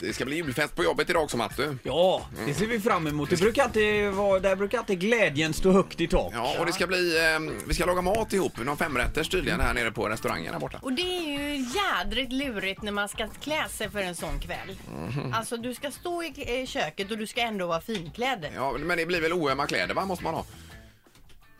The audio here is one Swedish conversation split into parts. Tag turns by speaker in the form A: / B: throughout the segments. A: Det ska bli julfest på jobbet idag också, Matte.
B: Ja, det ser vi fram emot. Det brukar alltid vara, där brukar alltid glädjen stå högt i tak.
A: Ja, och det ska bli... Eh, vi ska laga mat ihop, någon femrätters tydligen här nere på restaurangen här borta.
C: Och det är ju jädrigt lurigt när man ska klä sig för en sån kväll.
A: Mhm.
C: Alltså du ska stå i i köket och du ska ändå vara finklädd.
A: Ja, men det blir väl oömma kläder, va? Måste man ha.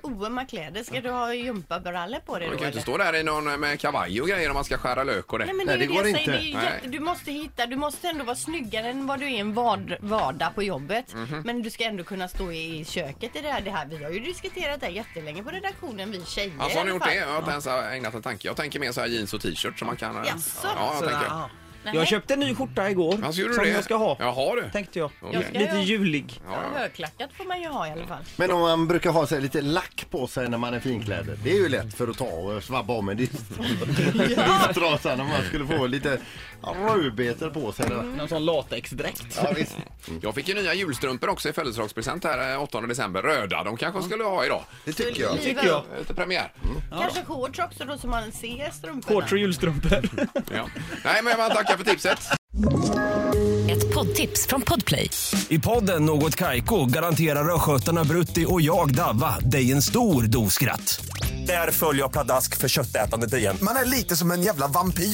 C: Oömma kläder, ska du ha gympabrallor på dig
A: Man
C: då
A: kan ju inte
C: eller?
A: stå där i någon eh, med kavaj och grejer om man ska skära lök och det.
C: Nej men det,
D: Nej,
C: är ju
D: det går
C: jag säger. Det är
D: inte.
C: ju
A: Nej.
C: jätte- du måste hitta, du måste ändå vara snyggare än vad du är en vad, vardag på jobbet.
A: Mhm.
C: Men du ska ändå kunna stå i köket i det här. Det här. Vi har ju diskuterat det här jättelänge på redaktionen, vi tjejer
A: Alltså
C: i
A: har ni
C: alla
A: gjort
C: fall.
A: det? Jag har inte ens ägnat en tanke. Jag tänker mer så här jeans och t-shirt som man kan... eh,
C: Jaså?
A: Ja, jag tänker.
B: ah.
C: Nej.
B: Jag köpte en ny skjorta igår
A: Alltså, gjorde du
B: som
A: det?
B: jag ska ha.
A: Jaha du.
B: Tänkte jag.
A: Okej. Jag
C: ska
B: Lite
C: göra.
B: julig.
C: Ja, högklackat får man ju ha i alla fall.
D: Men om man brukar ha sig lite lack på sig när man är finklädd. Det är ju lätt för att ta och svabba om en disktrasan om man skulle få lite rödbetor på sig. Eller?
B: Någon sån latexdräkt.
D: Ja, visst.
A: Jag fick ju nya julstrumpor också i födelsedagspresent här eh, 8 december. Röda, de kanske skulle ha idag.
D: Det tycker jag.
B: Tycker jag.
A: Eh, Lite premiär.
C: Kanske shorts också då så man ser strumporna.
B: Shorts och julstrumpor.
A: Ja. Nej, men man tackar för tipset.
E: Ett poddtips från Podplay.
F: I podden Något Kaiko garanterar östgötarna Brutti och jag, Davva, dig en stor dos skratt. Där följer jag pladask för köttätandet igen.
G: Man är lite som en jävla vampyr. Man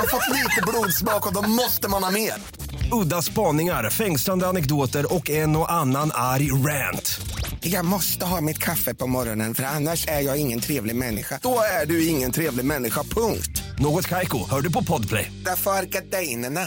G: har fått lite blodsmak och då måste man ha mer.
F: Udda spaningar, fängslande anekdoter och en och annan arg rant.
G: Jag måste ha mitt kaffe på morgonen för annars är jag ingen trevlig människa. Då är du ingen trevlig människa, punkt.
F: Något Kaiko, hör du på Podplay.
G: Därför arkadeinerna.